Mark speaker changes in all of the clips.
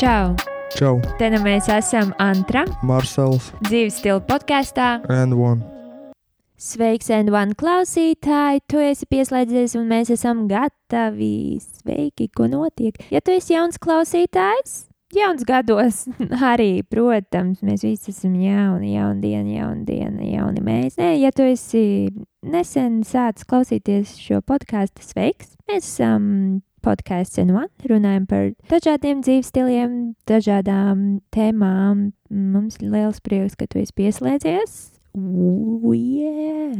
Speaker 1: Čau!
Speaker 2: Čau,
Speaker 1: Te nu mēs esam Antra,
Speaker 2: Marsels,
Speaker 1: dzīves stila podkāstā.
Speaker 2: N1.
Speaker 1: Sveiks, N1 klausītāji! Tu esi pieslēdzies, un mēs esam gatavi. Sveiki, ko notiek? Ja tu esi jauns klausītājs, jauns gados arī, protams, mēs visi esam jauni, jauna diena, jauna diena, jauni mēs. Nē, ja tu esi nesen sācis klausīties šo podkāstu, sveiks! Mēs esam podkāsts N1, runājam par dažādiem dzīves stiliem, dažādām tēmām. Mums ir liels prieks, ka tu esi pieslēdzies. Ooh, yeah.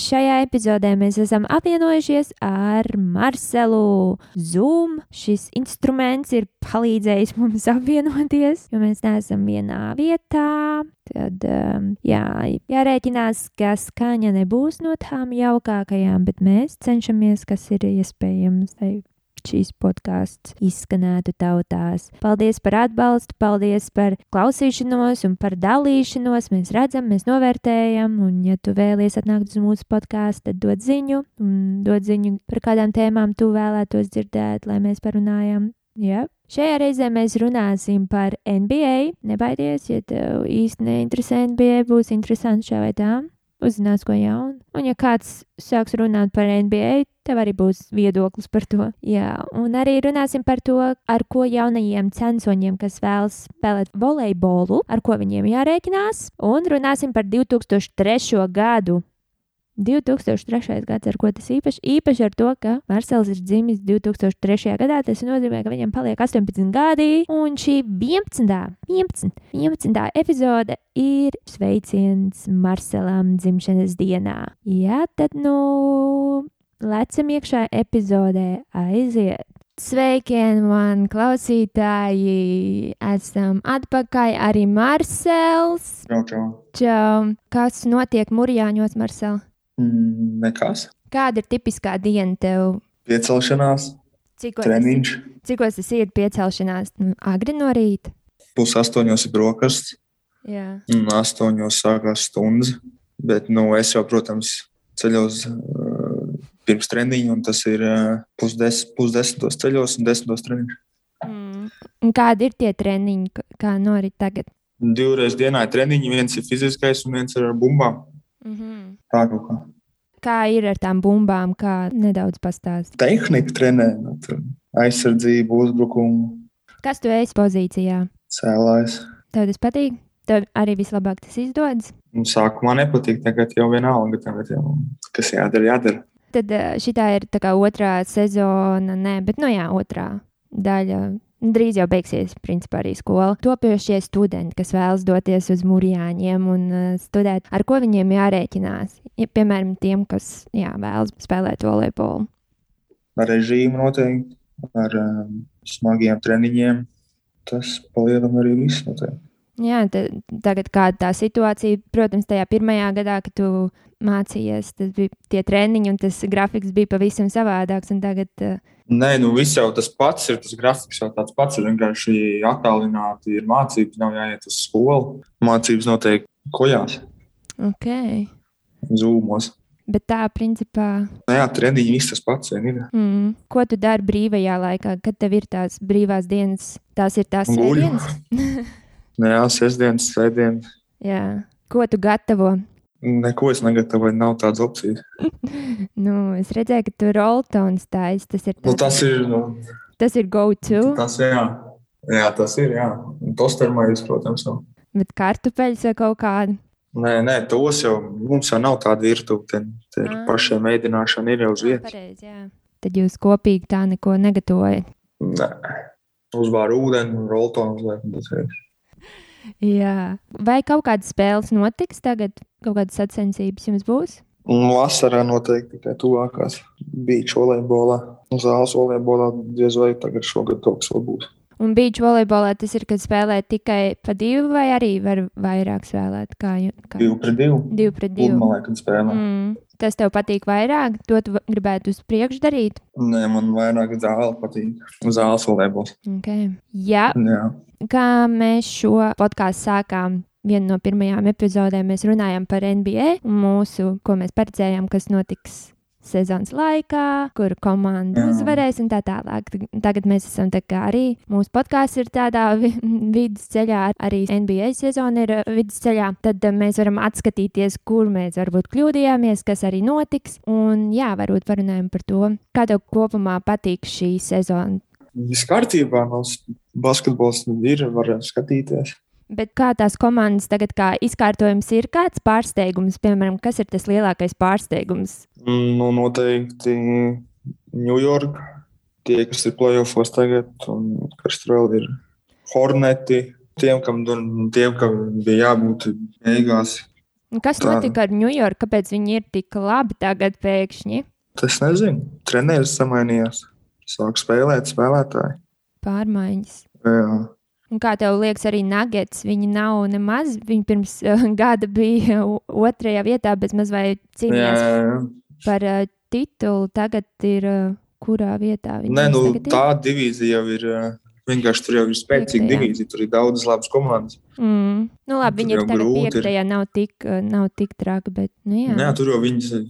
Speaker 1: Šajā epizodē mēs esam apvienojušies ar Marcelu Zoom. Šis instruments ir palīdzējis mums apvienoties, jo mēs neesam vienā vietā. Tad um, jā, jārēķinās, ka skaņa nebūs no tām jaukākajām, bet mēs cenšamies, kas ir iespējams. Lai šīs podkāsts izskanētu tautās. Paldies par atbalstu, paldies par klausīšanos un par dalīšanos. Mēs redzam, mēs novērtējam, un, ja tu vēlies atnākt uz mūsu podkāstu, tad dod ziņu, un dod ziņu par kādām tēmām tu vēlētos dzirdēt, lai mēs parunājam. Jā. Šajā reizē mēs runāsim par NBA. Nebaidies, ja tev īsti neinteresē NBA, būs interesanti šā vai tā. Uzzinās, ko jaunu. Un, ja kāds sāks runāt par NBA, tev arī būs viedoklis par to. Jā, un arī runāsim par to, ar ko jaunajiem censoņiem, kas vēlas spēlēt volejbolu, ar ko viņiem jārēķinās. Un runāsim par 2003. gadu. 2003. gads, ar ko tas īpaši? Īpaši ar to, ka Marsels ir dzimis 2003. gadā. Tas nozīmē, ka viņam paliek 18 gadi. Un šī 11. 11. 11. epizode ir sveiciens Marselam dzimšanas dienā. Jā, tad nu lecam iekšā epizodē aiziet. Sveiki, man klausītāji! Esam atpakaļ arī Marsels.
Speaker 2: Čau, čau.
Speaker 1: Čau. Kas notiek Mūrjāņos, Marsel?
Speaker 2: Mm, nekas.
Speaker 1: Kāda ir tipiskā diena tev?
Speaker 2: Piecelšanās,
Speaker 1: Cikos tas ir-
Speaker 2: treniņš,
Speaker 1: Cikos tas ir piecelšanās? Nu, agri no rīta.
Speaker 2: pus astoņos ir brokasts,
Speaker 1: Jā.
Speaker 2: un astoņos sākās stundas. Bet, nu, es jau, protams, ceļos uh, pirms treniņa, un tas ir uh, pusdes, pusdesmitos ceļos un desmitos treniņš.
Speaker 1: Mm. Un Kādi ir tie treniņi, k- kā norit tagad?
Speaker 2: Divreiz dienā ir treniņi, viens ir fiziskais un viens ir ar bumbām.
Speaker 1: Mm -hmm.
Speaker 2: Tā kaut kā
Speaker 1: Kā ir ar tām bumbām, kā nedaudz pastāstīt?
Speaker 2: tehnika trenē, nu, tur aizsardzību, uzbrukumu,
Speaker 1: Kas tu esi pozīcijā?
Speaker 2: cēlājs.
Speaker 1: Tev tas patīk? Tev arī vislabāk tas izdodas?
Speaker 2: Nu, sākumā nepatīk, tagad jau vienalga. Tagad jau, kas jādara, jādara.
Speaker 1: Tad šī ir tā kā otrā sezona, nē, bet nu jā, otrā daļa. Drīz jau beigsies, principā, arī skola. Topošie studenti, kas vēlas doties uz mūrjāņiem un uh, studēt, ar ko viņiem jārēķinās. Ja, piemēram, tiem, kas jā, vēlas spēlēt volejbolu.
Speaker 2: Ar režīmu noteikti, ar um, smagiem treniņiem. Tas palielam arī viss noteikti.
Speaker 1: Jā, tad, tagad kāda tā situācija, protams, tajā pirmajā gadā, kad tu mācījies, tas bija tie treniņi un tas grafiks bija pavisam savādāks. un Tagad, uh,
Speaker 2: Nē, nu viss jau tas pats ir. Tas grafiks jau tāds pats ir. Vienkārši attālināti ir mācības, nav jāiet uz skolu. Mācības noteikti kojās,
Speaker 1: okay.
Speaker 2: zūmos.
Speaker 1: Bet tā, principā,
Speaker 2: Nu Jā, treniņi viss tas pats vien ir.
Speaker 1: Mm. Ko tu dari brīvajā laikā, kad tev ir tās brīvās dienas? Tās ir tās
Speaker 2: Guļu.
Speaker 1: sēdienas.
Speaker 2: Nu Jā, sestdienas, svētdienas.
Speaker 1: Jā. Ko tu gatavo?
Speaker 2: Neko es negatavoju, nav tādas opcijas.
Speaker 1: Nu, es redzēju, ka tu roltons taisi. Tas ir,
Speaker 2: Nu,
Speaker 1: tāds-
Speaker 2: tas ir nu,
Speaker 1: tas ir go-to,
Speaker 2: Tas jā. jā, tas ir. Jā. Tos termais, protams, nav.
Speaker 1: bet kartupeļs vai kaut kāda.
Speaker 2: Nē, nē, tos jau mums jau nav tāda virtuve. Te, te ir
Speaker 1: Ah.
Speaker 2: pašai mēģināšana ir jau uz
Speaker 1: Jā,
Speaker 2: vietas.
Speaker 1: pareizi, jā. Tad jūs kopīgi tā neko negatavojat.
Speaker 2: Nē. Uzvāra ūdeni, roltonu uzliek.
Speaker 1: Jā. Vai kaut kādas spēles notiks tagad? Kaut kādas sacensības jums būs?
Speaker 2: Un vasarā noteikti tikai tuvākās beidžu volejbolā. Zāles volejbolā diez vai tagad šogad kaut kas vēl būs.
Speaker 1: Un beidž volejbolā tas ir, kad spēlē tikai pa divu vai arī var vairāk spēlēt? Kā, ju- kā?
Speaker 2: Divi pret divu.
Speaker 1: Divi pret divu.
Speaker 2: Pludmalē, kad spēlē. Mm.
Speaker 1: Mm, tas tev patīk vairāk, to tu va- gribētu uz priekšu darīt.
Speaker 2: Nē, man vairāk zāle patīk. Zāles volejbols.
Speaker 1: Okay. Jā,
Speaker 2: Jā.
Speaker 1: kā mēs šo podkāstu sākām. Viena no pirmajām epizodēm mēs runājām par NBA un mūsu, ko mēs paredzējām, kas notiks sezonas laikā, kur komanda
Speaker 2: Jā.
Speaker 1: uzvarēs un tā tālāk. Tagad mēs esam tā kā arī mūsu podkāsts ir tādā vi- vidusceļā, arī NBA sezona ir eh, vidusceļā. Tad eh, mēs varam atskatīties, kur mēs varbūt kļūdījāmies, kas arī notiks. Un jā, varbūt parunājam par to, kā tev kopumā patīk šī sezona.
Speaker 2: Viss kārtībā, mums basketbols ir, varam skatīties.
Speaker 1: Bet kā tās komandas tagad kā izkārtojums ir, kāds pārsteigums, piemēram, kas ir tas lielākais pārsteigums?
Speaker 2: Nu, noteikti Ņujorka, tie, kas ir plēsofos tagad, un kas tur vēl ir Horneti. Tiem, kam, un tiem, kam bija jābūt beigās,
Speaker 1: Un Kas
Speaker 2: Tā.
Speaker 1: notika ar New York? Kāpēc viņi ir tik labi tagad pēkšņi?
Speaker 2: tas nezinu. Treneris samainījās, sāk spēlēt spēlētāji.
Speaker 1: Pārmaiņas.
Speaker 2: Jā.
Speaker 1: Un kā tev liekas, arī Nuggets, viņi nav nemaz, viņi pirms uh, gada bija o- otrajā vietā, bet maz vai
Speaker 2: Jā,
Speaker 1: cīnījās
Speaker 2: jā, jā.
Speaker 1: par uh, titulu. Tagad ir uh, kurā vietā viņi
Speaker 2: Nē, nu,
Speaker 1: tagad ir?
Speaker 2: tā divīzija jau ir. ā, Vienkārši tur jau ir spēcīga
Speaker 1: Piektajā.
Speaker 2: divīzija, tur ir daudz labas komandas.
Speaker 1: Mm. Nu, labi, viņi
Speaker 2: Tur
Speaker 1: ir
Speaker 2: jau
Speaker 1: tagad
Speaker 2: grūti ir.
Speaker 1: piektajā, nav tik, uh, nav tik traki, bet, nu
Speaker 2: Jā.
Speaker 1: jā.
Speaker 2: Jā, tur jau viņas ir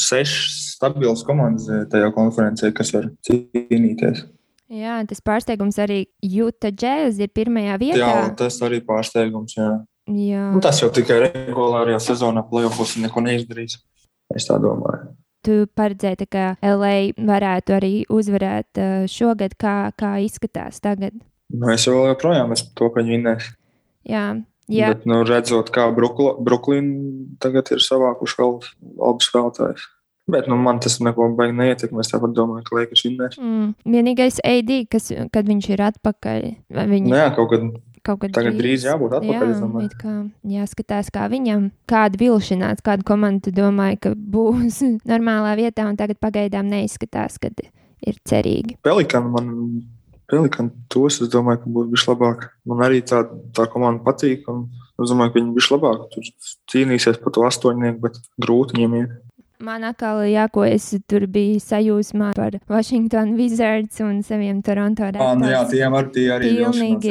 Speaker 2: sešas stabilas komandas ā, tajā konferencē, kas var cīnīties.
Speaker 1: jā, tas pārsteigums arī Juta Džēzus ir pirmajā vietā.
Speaker 2: Jā, tas arī ir pārsteigums. Jā.
Speaker 1: jā.
Speaker 2: Nu, tas jau tikai regulārajā sezonā plēsoņos neko neizdarīs. Es tā domāju.
Speaker 1: Tu paredzēji, tā ka LA varētu arī uzvarēt uh, šogad, kā, kā izskatās tagad.
Speaker 2: Nu, es vēl joprojām esmu to, ka viņi vinnēs.
Speaker 1: Jā, jā.
Speaker 2: Bet, nu, redzot, kā Bruklo- Brooklyn tagad ir savākuši vēl abus spēlētājus. Bet nu, man tas neko baigi neietekmēs. Tāpat domāju, ka Lakers vinnēs.
Speaker 1: Mm. Vienīgais AD, kas, kad viņš ir atpakaļ, vai
Speaker 2: Nu,
Speaker 1: viņa
Speaker 2: jā, kaut kad
Speaker 1: kaut kad
Speaker 2: tagad drīz jābūt atpakaļ. es
Speaker 1: Jā,
Speaker 2: domāju.
Speaker 1: it kā jāskatās, kā viņam, kāda vilšanās, kāda komanda tu domāji, ka būs normālā vietā, un tagad pagaidām neizskatās, kad ir cerīgi.
Speaker 2: Pelikāna man Pelikāna tos, es domāju, ka būs vislabāk. Man arī tā, tā komanda patīk. un Es domāju, ka viņi būs labāk. Tur cīnīsies par to astoņnieku, bet grūti viņiem iet.
Speaker 1: Man atkal, jā, ko es tur biju sajūsmā par Washington Wizards un saviem Toronto
Speaker 2: Ah, nu jā,
Speaker 1: Raptors.
Speaker 2: tiem ar tie arī ir
Speaker 1: Pilnīgi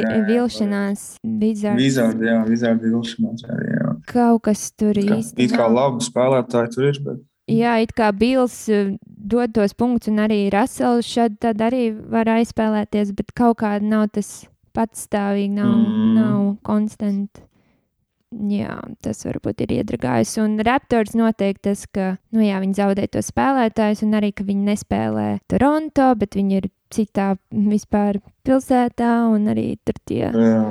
Speaker 1: vilšanās,
Speaker 2: vilšanās, Jā,
Speaker 1: Wizards.
Speaker 2: Vizardi, jā, vizardi vilšanās arī. Jā.
Speaker 1: Kaut kas tur
Speaker 2: Kā,
Speaker 1: īsti.
Speaker 2: it kā
Speaker 1: nav.
Speaker 2: labi spēlētāji tur ir, bet
Speaker 1: Jā, it kā Bills uh, dod tos punktus, un arī Rasels šad tad arī var aizspēlēties, bet kaut kā nav tas patstāvīgi, nav, mm.
Speaker 2: Mm.
Speaker 1: nav konstanti. Jā, tas varbūt ir iedragājis. Un Raptors noteikti tas, ka nu jā, viņi zaudē to spēlētājus, un arī, ka viņi nespēlē Toronto, bet viņi ir citā vispār pilsētā, un arī tur tie
Speaker 2: jā.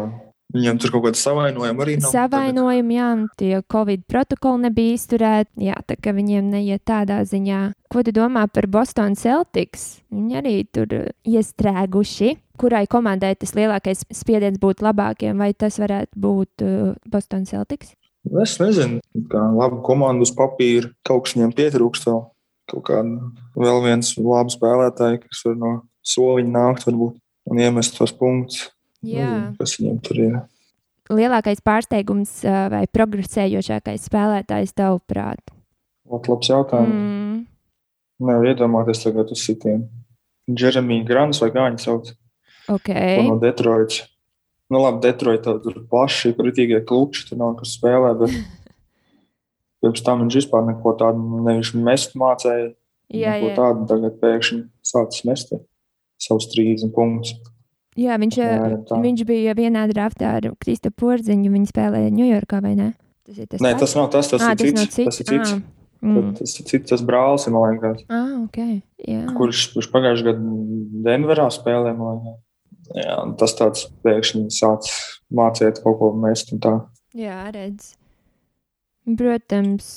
Speaker 2: viņiem tur kaut kāda savainojuma arī nav.
Speaker 1: Savainojumi, jā, un tie Covid protokoli nebija izturēti. Jā, tā kā viņiem neiet tādā ziņā. Ko tu domā par Boston Celtics? Viņi arī tur uh, iestrēguši. Kurai komandai tas lielākais spiediens būtu labākiem, vai tas varētu būt uh, Boston Celtics?
Speaker 2: Tagad. Nu, Es nezinu, kā labu komandu uz papīra kaut kas viņiem pietrūkst. Vēl. Kaut kā vēl viens labs spēlētājs, kas var no soliņa nākt varbūt, un iemest tos punktus. Nezinu, Kas viņiem tur ir?
Speaker 1: Lielākais pārsteigums uh, vai progresējošākais spēlētājs tavuprāt?
Speaker 2: Ot, labs jautājums. Mm.
Speaker 1: Mm.
Speaker 2: Nevar iedomāties tagad uz citiem. Jeremija Grants vai kā viņa sauc?
Speaker 1: Okay.
Speaker 2: Un no Detroitas. Nu, labi, Detroitā tur ir plaši kritīgie klūči, tur nav kas spēlē. Bet... Pirms tam viņš vispār neko tādu nevis mest mācīja.
Speaker 1: Jā,
Speaker 2: neko
Speaker 1: jā.
Speaker 2: tādu tagad pēkšņi sācis mest savus 30 punktus.
Speaker 1: jā, viņš uh,
Speaker 2: Apmēram tā.
Speaker 1: Viņš bija vienā draftā ar Krista Porziņu. Viņa spēlēja Ņujorkā, vai ne? Tas ir tas
Speaker 2: Nē, tas nav tas, tas,
Speaker 1: Ā,
Speaker 2: ir, cits,
Speaker 1: nav cits.
Speaker 2: tas ir cits.
Speaker 1: Ā, Mm.
Speaker 2: Tas ir cits, tas brālis, man liekas,
Speaker 1: Ah, ok. Jā.
Speaker 2: kurš, kurš pagājušajā gadā Denverā spēlēja. man liekas. Jā, un tas tāds pēkšņi sācis mācīt kaut ko mest. un tā.
Speaker 1: Jā, redz. Protams,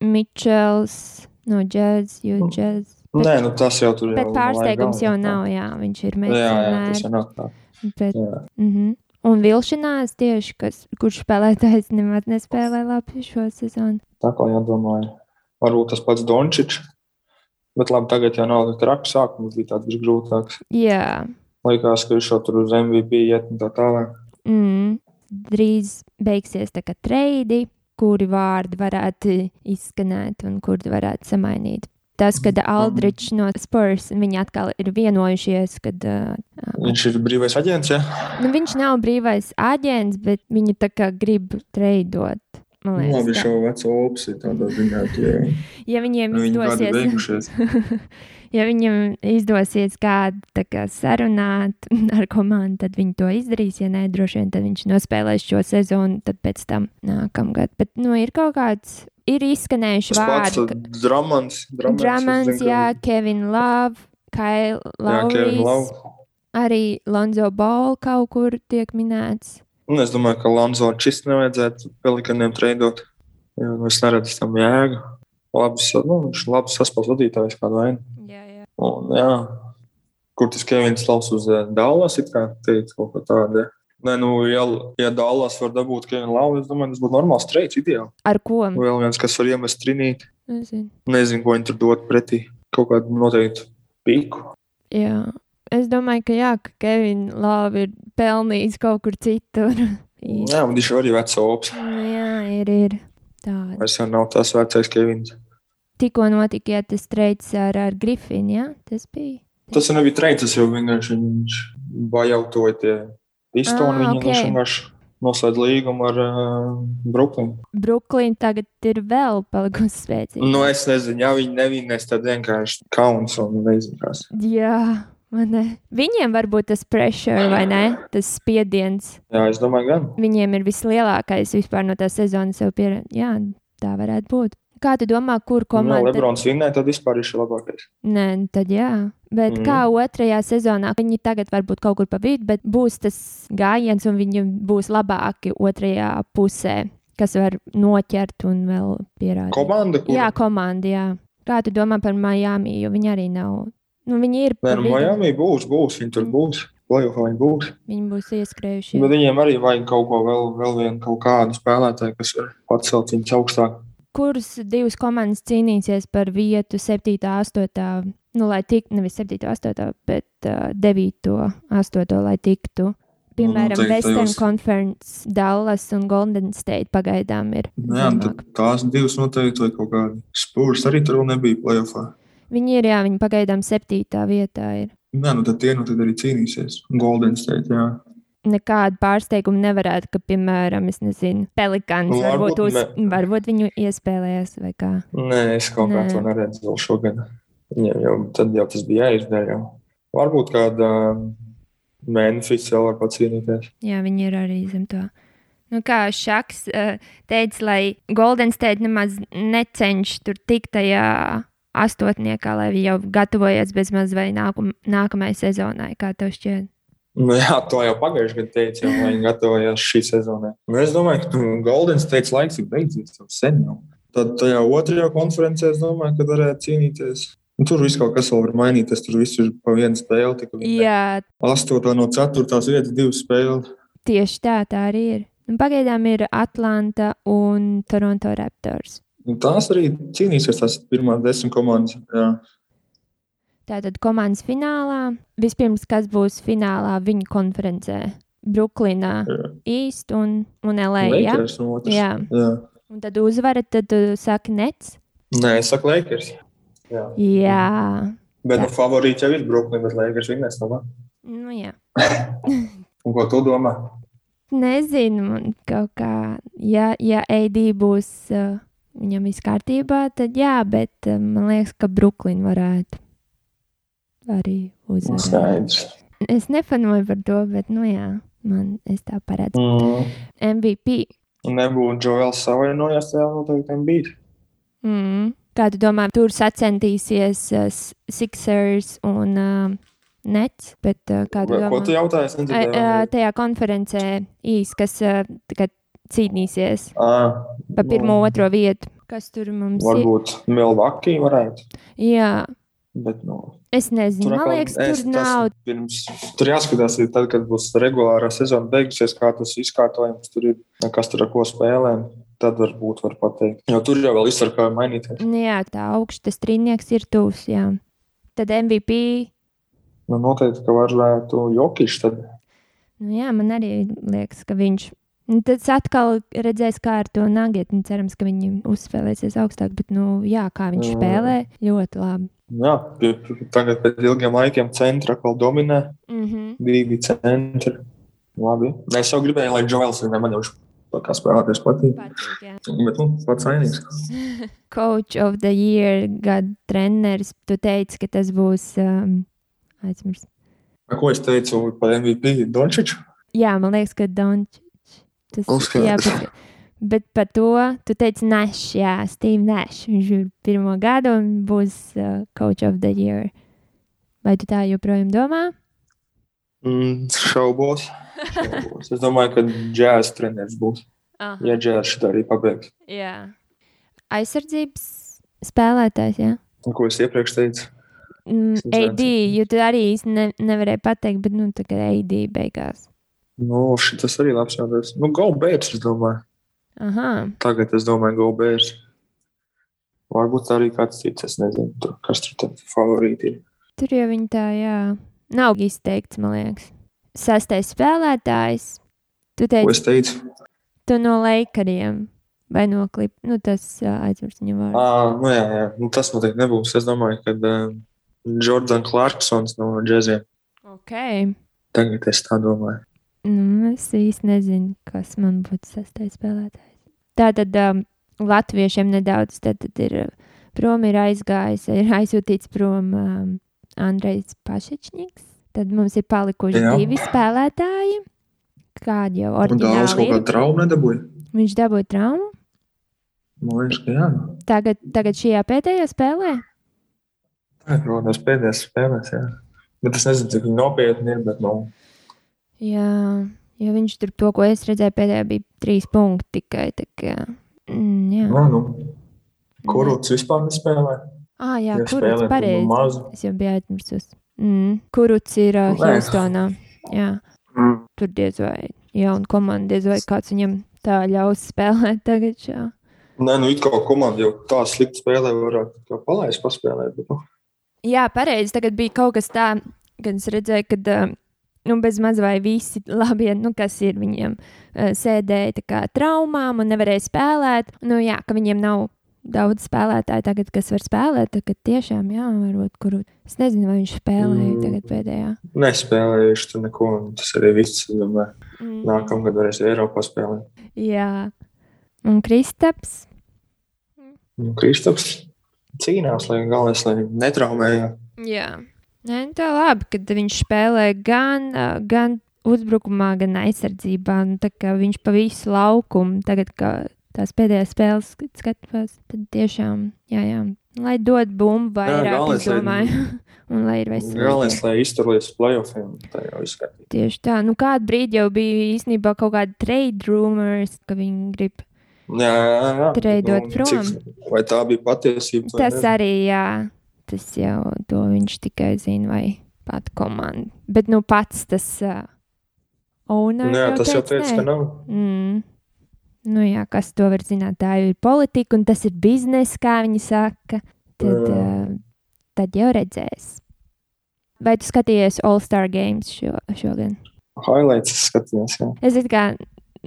Speaker 1: Mičels no Jazz, jo
Speaker 2: Nu,
Speaker 1: Jazz. Bet-
Speaker 2: Nē, nu tas jau tur ir.
Speaker 1: Bet pārsteigums jau nav, jā, viņš ir
Speaker 2: Jā, jā, tas
Speaker 1: mēģinājums.
Speaker 2: jau nav tā.
Speaker 1: Bet,
Speaker 2: Jā.
Speaker 1: mm -hmm. Un vilšanās tieši, kas, kurš spēlētājs nemaz nespēlē labi šo sezonu.
Speaker 2: Tā kā jādomāja, varbūt tas pats Dončits. Bet labi, tagad jau nav tāds traks, sākums bija tāds bijis grūtāks.
Speaker 1: Jā,
Speaker 2: Likās, ka viņš jau tur uz MVP iet un tā tālāk.
Speaker 1: mm, drīz beigsies tā kā treidi, kuri vārdi varētu izskanēt un kur varētu samainīt. Tas,
Speaker 2: Mm.
Speaker 1: kad Aldrichs no Spurs viņi atkal ir vienojušies, kad uh,
Speaker 2: Viņš ir brīvais aģents, ja?
Speaker 1: nu, viņš nav brīvais aģents, bet viņi tā kā grib treidot. Man
Speaker 2: Nu, labi,
Speaker 1: liekas, tā.
Speaker 2: jau vecā opcija tādā ziņā, ka jā,
Speaker 1: ja viņiem
Speaker 2: nu, viņi gadi
Speaker 1: izdosies,
Speaker 2: beigušies.
Speaker 1: ja viņiem izdosies kādu tā kā sarunāt ar komandu, tad viņi to izdarīs. Ja nē, droši vien tad viņš nospēlēs šo sezonu, tad pēc tam nākamgad. Bet nu, ir kaut kāds, ir izskanējuši
Speaker 2: Tas pats
Speaker 1: vārdi.
Speaker 2: uh, Dramans. Dramans,
Speaker 1: Dramans, jā, Kevin Love, Kail Lauris,
Speaker 2: Lapa.
Speaker 1: arī Lonzo Ball kaut kur tiek minēts.
Speaker 2: Un Nu, es domāju, ka Lanzo šis nevajadzētu pelikaniem treidot. Jo nu, es neredzu tam jēgu. Labs, nu, viņš ir labs saspēles vadītājs kādā veidā.
Speaker 1: Jā, jā.
Speaker 2: Un, jā, kur tas Kevins Lavs uz eh, Dallas ir kā teikt kaut ko tādu. ja? Nē, nu, ja, ja Dallas var dabūt Kevinu Lavu, es domāju, tas būtu normāls streiks, ideāli.
Speaker 1: Ar ko?
Speaker 2: Vēl viens, kas var iemest trinīt,
Speaker 1: Nezinu.
Speaker 2: nezinu, ko viņi tur dod pretī kaut kādu noteiktu piku.
Speaker 1: Jā. Es domāju, ka jā, ka Kevins Love ir pelnījis kaut kur citur. Ir.
Speaker 2: Jā, un viņš jau arī vecs ops.
Speaker 1: Nu, jā, ir, ir. Tāda.
Speaker 2: Vairs jau nav tas vecais Kevins.
Speaker 1: Tikko notika ja, tas streiks ar, ar Grifinu, jā, tas bija.
Speaker 2: Tas jau nebija trījis, tas jau vienkārši viņš bajautoja tie
Speaker 1: Ah,
Speaker 2: pistoni. Ah,
Speaker 1: ok.
Speaker 2: okay. vienkārši noslēdz līgumu ar uh, Brooklynu.
Speaker 1: Brooklyn tagad ir vēl palikusi spēcīga.
Speaker 2: Nu, es nezinu, ja viņi nevinēs, tad vienkārši kauns un neizskatās.
Speaker 1: Jā, man ne. Viņiem varbūt tas pressure vai ne, tas spiediens.
Speaker 2: Jā, es domāju, gan. Nu,
Speaker 1: Viņiem ir vislielākais vispār no tā sezonas jau pieredzējis. Jā, tā varētu būt. Kā tu domā, kur
Speaker 2: Komanda. Ja
Speaker 1: komanda?
Speaker 2: Lebrons vinnēja, tad vispār viņš ir labākais.
Speaker 1: Nē, nu tad jā. Bet mm.
Speaker 2: Mhm.
Speaker 1: kā otrajā sezonā, viņi tagad varbūt kaut kur pa vidu, bet būs tas gājiens, un viņi būs labāki otrajā pusē, kas var noķert un vēl pierādīt.
Speaker 2: Komanda, kur
Speaker 1: Jā, komanda. Jā. Kā tu domā par Miami? Jo viņi arī nav. Nu, viņi ir.
Speaker 2: Nē,
Speaker 1: pa
Speaker 2: nu,
Speaker 1: vidu,
Speaker 2: Miami būs, būs, viņi tur
Speaker 1: Mm.
Speaker 2: būs. Plajofā viņi būs.
Speaker 1: Viņi būs ieskrējuši.
Speaker 2: Bet viņiem arī vajag kaut ko vēl, vēl vienu kaut kādu spēlētāju, kas var pacelt viņus augstāk.
Speaker 1: kuras divas komandas cīnīsies par vietu 7, 8, nu, lai tiktu nevis 7, 8, bet uh, 9, 8, lai tiktu. Piemēram,
Speaker 2: Nu, noteikti
Speaker 1: Western
Speaker 2: tajos-
Speaker 1: Conference, Dallas un Golden State pagaidām ir.
Speaker 2: Nu Jā, un tad
Speaker 1: zemāk.
Speaker 2: tās divas noteikti vai kaut kādi spūrs arī tur vēl nebija plajofā.
Speaker 1: Viņi ir, jā, viņi pagaidām 7. vietā ir.
Speaker 2: Nē, nu tad tie nu tad arī cīnīsies. Golden State, jā.
Speaker 1: Nekāda pārsteiguma nevarētu, ka, piemēram, es nezinu, Pelikāns
Speaker 2: Nu, varbūt
Speaker 1: varbūt, uz, varbūt viņu iespēlējas vai kā.
Speaker 2: Nē, es kaut kā
Speaker 1: Nē.
Speaker 2: to neredzu vēl šogad. Jā, jau, tad jau tas bija jāizdara. Jau. Varbūt kāda um, Memphis vēl var pacīnīties.
Speaker 1: Jā, viņi ir arī zem to. Nu, kā Šaks uh, teica, lai Golden State nemaz necenšas tur tikt tajā astotniekā, lai viņi jau gatavojas bezmaz vai nākum, nākamajai sezonai, kā tev šķiet.
Speaker 2: Nu, jā, to jau pagājušajā gadā teicu, jau viņi gatavojās šī sezonai. Nu, es domāju, ka nu, Golden State laiks ir beidzies jau sen. Jau. Tad tajā otrajā konferencē es domāju, ka varētu cīnīties. Nu, tur viss kaut kas vēl var mainīties. Tur viss ir pa vienu spēli. tikai viņi
Speaker 1: Jā,
Speaker 2: Astotā no ceturtās vietas divas spēles.
Speaker 1: tieši tā, tā arī ir. Un Nu, pagaidām ir Atlanta un Toronto Raptors.
Speaker 2: Nu, Tās arī cīnīsies tās pirmās desmit komandas. Jā.
Speaker 1: Tātad komandas finālā. Vispirms, kas būs finālā viņu konferencē? Brooklynā,
Speaker 2: Jā.
Speaker 1: East un, un LA. Jā?
Speaker 2: Lakers un otrs.
Speaker 1: jā,
Speaker 2: Jā.
Speaker 1: un tad uzvara, tad uh, saka Nets.
Speaker 2: Nē, es saku Lakers. Jā.
Speaker 1: Jā,
Speaker 2: Bet nu, favorīts jau ir Brooklyn, bet Lakers vinnēs no manis.
Speaker 1: nu jā.
Speaker 2: Un ko tu domā?
Speaker 1: Nezinu, man kaut kā, ja, ja AD būs, uh, viņam viss kārtībā, tad jā, bet uh, man liekas, ka Brooklyn varētu arī uzvarēt.
Speaker 2: Skaidrs.
Speaker 1: Es nefanoju par to, bet, nu jā, man es tā paredzu.
Speaker 2: Mm.
Speaker 1: MVP.
Speaker 2: Nebūtu Džoels savainojās, tad noteikti nu, tam bija.
Speaker 1: Mm. Kā tu domā, tur sacensīsies uh, S- Sixers un uh, Nets, bet uh, kā tu domā?
Speaker 2: Ko tu jautāji? Es
Speaker 1: Ai,
Speaker 2: nedzirdēju.
Speaker 1: ā, tajā konferencē īsi, kas ā, tagad cīnīsies
Speaker 2: Ā,
Speaker 1: par
Speaker 2: nu,
Speaker 1: pirmo, otro vietu. Kas tur mums ir?
Speaker 2: Varbūt Milvakija varētu.
Speaker 1: Jā,
Speaker 2: Bet, nu,
Speaker 1: es nezinu. Man
Speaker 2: atkal
Speaker 1: liekas,
Speaker 2: es-
Speaker 1: tur
Speaker 2: tas
Speaker 1: nav.
Speaker 2: Pirms, tur jāskatās, ir tad, kad būs regulārā sezona beigusies, kā tas izkārtojums tur ir, kas tur ar ko spēlē. Tad varbūt var pateikt. Jo tur jau vēl izsarkāja mainīties.
Speaker 1: Nu, jā, tā augsta strīdnieks ir tūs. Jā. Tad MVP.
Speaker 2: Nu, noteikti, ka varētu jokiši tad.
Speaker 1: Nu, jā, man arī liekas, ka viņš. Nu, Tad es atkal redzēju, kā ar to nāgiet. Nu, Cerams, ka viņi uzspēlēsies augstāk. Bet, nu, jā, kā viņš
Speaker 2: Mm.
Speaker 1: spēlē, ļoti labi.
Speaker 2: nu, Jā, pie- pie- tagad pēc ilgiem laikiem centra atkal dominē.
Speaker 1: Mm -hmm.
Speaker 2: Divi centri. Labi. Nē, Es jau gribēju, lai Džoels ir nemaņošs. to kā spēlēties patīk.
Speaker 1: Patīk, jā.
Speaker 2: Bet, nu, pats vainīgs.
Speaker 1: Coach of the Year gada treneris. Tu teici, ka tas būs um, aizmirsts.
Speaker 2: Ko es teicu par MVP Dončiču?
Speaker 1: Jā, man liekas, ka Dončits. Tas
Speaker 2: Uzskatu.
Speaker 1: jā, bet, bet par to tu teici Nešs, jā, Steve Nešs. Viņš ir pirmo gadu un būs uh, Coach of the Year. Vai tu tā joprojām domā?
Speaker 2: Mm, šaubos. šaubos. Es domāju, ka džēzus treneris būs.
Speaker 1: Aha,
Speaker 2: Ja džēzus šitā arī pabeigs.
Speaker 1: jā. Aizsardzības spēlētājs, jā.
Speaker 2: Un, Ko es iepriekš teicu?
Speaker 1: Mm,
Speaker 2: Sezons.
Speaker 1: AD, jo tu arī īsti ne, nevarēji pateikt, bet nu tagad AD beigās.
Speaker 2: Nu, šis arī labs jautājums. Nu, go bērns, es domāju.
Speaker 1: Aha,
Speaker 2: Tagad es domāju, go bērns. Varbūt arī kāds cits, es nezinu, tur, kas tur tad favorīti ir.
Speaker 1: tur jau viņa tā, jā. Nav izteikts, man liekas. Sastais spēlētājs. Tu teici,
Speaker 2: Ko es teicu?
Speaker 1: Tu no laikariem vai no klipa. Nu, tas aizmirst viņa vārdu.
Speaker 2: À, nu, jā, jā. Nu, tas noteikti nebūs. Es domāju, ka uh, Jordans Clarksons no džēziem.
Speaker 1: Ok.
Speaker 2: Tagad es tā domāju.
Speaker 1: Nu, es īsti nezinu, kas man būtu sastais spēlētājs. Tā tad um, latviešiem nedaudz tad, tad ir uh, prom ir aizgājis, ir aizsūtīts prom um, Andrejs Pašičņiks. Tad mums ir palikuši Jā.
Speaker 2: Jā.
Speaker 1: divi spēlētāji. Kādi jau
Speaker 2: Un Dāvis
Speaker 1: oriģināli
Speaker 2: kaut
Speaker 1: ir?
Speaker 2: kādu traumu nedabūja.
Speaker 1: Viņš dabūja traumu.
Speaker 2: Man liekas, ka jā.
Speaker 1: Tagad, tagad šajā pēdējā spēlē.
Speaker 2: Tā ir protams, pēdējās spēlēs. Jā. Bet es nezinu, cik viņi nopietni ir. Bet, nu,
Speaker 1: Jā, ja viņš tur to, ko es redzēju, pēdējā bija trīs punkti tikai. tā kā, Mm, jā,
Speaker 2: nu, nu, kurus vispār nespēlē?
Speaker 1: ah, jā
Speaker 2: Ja
Speaker 1: kurš
Speaker 2: spēlē, tad nu
Speaker 1: pareizi?
Speaker 2: maz.
Speaker 1: Es jau biju aizmirsus. Mm. Kurš ir uh,
Speaker 2: Nē.
Speaker 1: Hilstonā? Jā,
Speaker 2: Mm.
Speaker 1: tur diez vai jauna komanda, diez vai kāds viņam tā ļaus spēlēt tagad. Jā.
Speaker 2: Nē, nu, it kā komanda jau tā slikti spēlē, varētu kā palaist, paspēlēt. Bet, nu,
Speaker 1: Jā, pareizi. Tagad bija kaut kas tāds, kad es redzēju, ka uh, nu, bez maz vai visi labie, nu, kas ir viņiem, uh, sēdēja tā kā traumām un nevarēja spēlēt. Nu, jā, ka viņiem nav daudz spēlētāju tagad, kas var spēlēt. Tagad tiešām, jā, varbūt, kur es nezinu, vai viņš spēlēja
Speaker 2: Mm.
Speaker 1: tagad pēdējā.
Speaker 2: nespēlējuši tur neko. un Tas arī viss. es Domāju,
Speaker 1: Mm.
Speaker 2: nākamgad varēs Eiropā spēlēt.
Speaker 1: Jā, un Kristaps.
Speaker 2: Nu, Kristaps cīnās, lai galvenais, lai netraumējās.
Speaker 1: Jā, Nē, nu tā labi, kad viņš spēlē gan, ā, gan uzbrukumā, gan aizsardzībā. Nu, tā kā viņš pa visu laukumu tagad, kad tās pēdējās spēles skat- skatās, tad tiešām, jā, jā. lai dod bumbu vairāk,
Speaker 2: galvenais,
Speaker 1: es
Speaker 2: lai-
Speaker 1: domāju, un lai ir
Speaker 2: Galvenais,
Speaker 1: veselīgi.
Speaker 2: lai izturētos playoffiem, tā jau izskatās.
Speaker 1: Tieši tā, nu kādu brīdi jau bija īstenībā kaut kāda trade rumors, ka viņi grib.
Speaker 2: Nu, Jā, jā, jā.
Speaker 1: Treidot
Speaker 2: Nu,
Speaker 1: prom.
Speaker 2: cik- Vai tā bija patiesība? to
Speaker 1: Tas
Speaker 2: nezinu.
Speaker 1: arī, jā, tas jau to viņš tikai zina, vai pat komanda. Bet nu pats tas. Uh, Owner,
Speaker 2: Nu, jā, tas jau
Speaker 1: teica,
Speaker 2: teica, ka
Speaker 1: nē.
Speaker 2: nav.
Speaker 1: Mm. Nu, jā, kas to var zināt? Tā jau ir politika, un tas ir biznesa, kā viņi saka. Tad,
Speaker 2: Jā.
Speaker 1: uh, tad jau redzēs. Vai tu skatījies All Star Games šo, šogad?
Speaker 2: Highlights es skatījos. Jā.
Speaker 1: Es it kā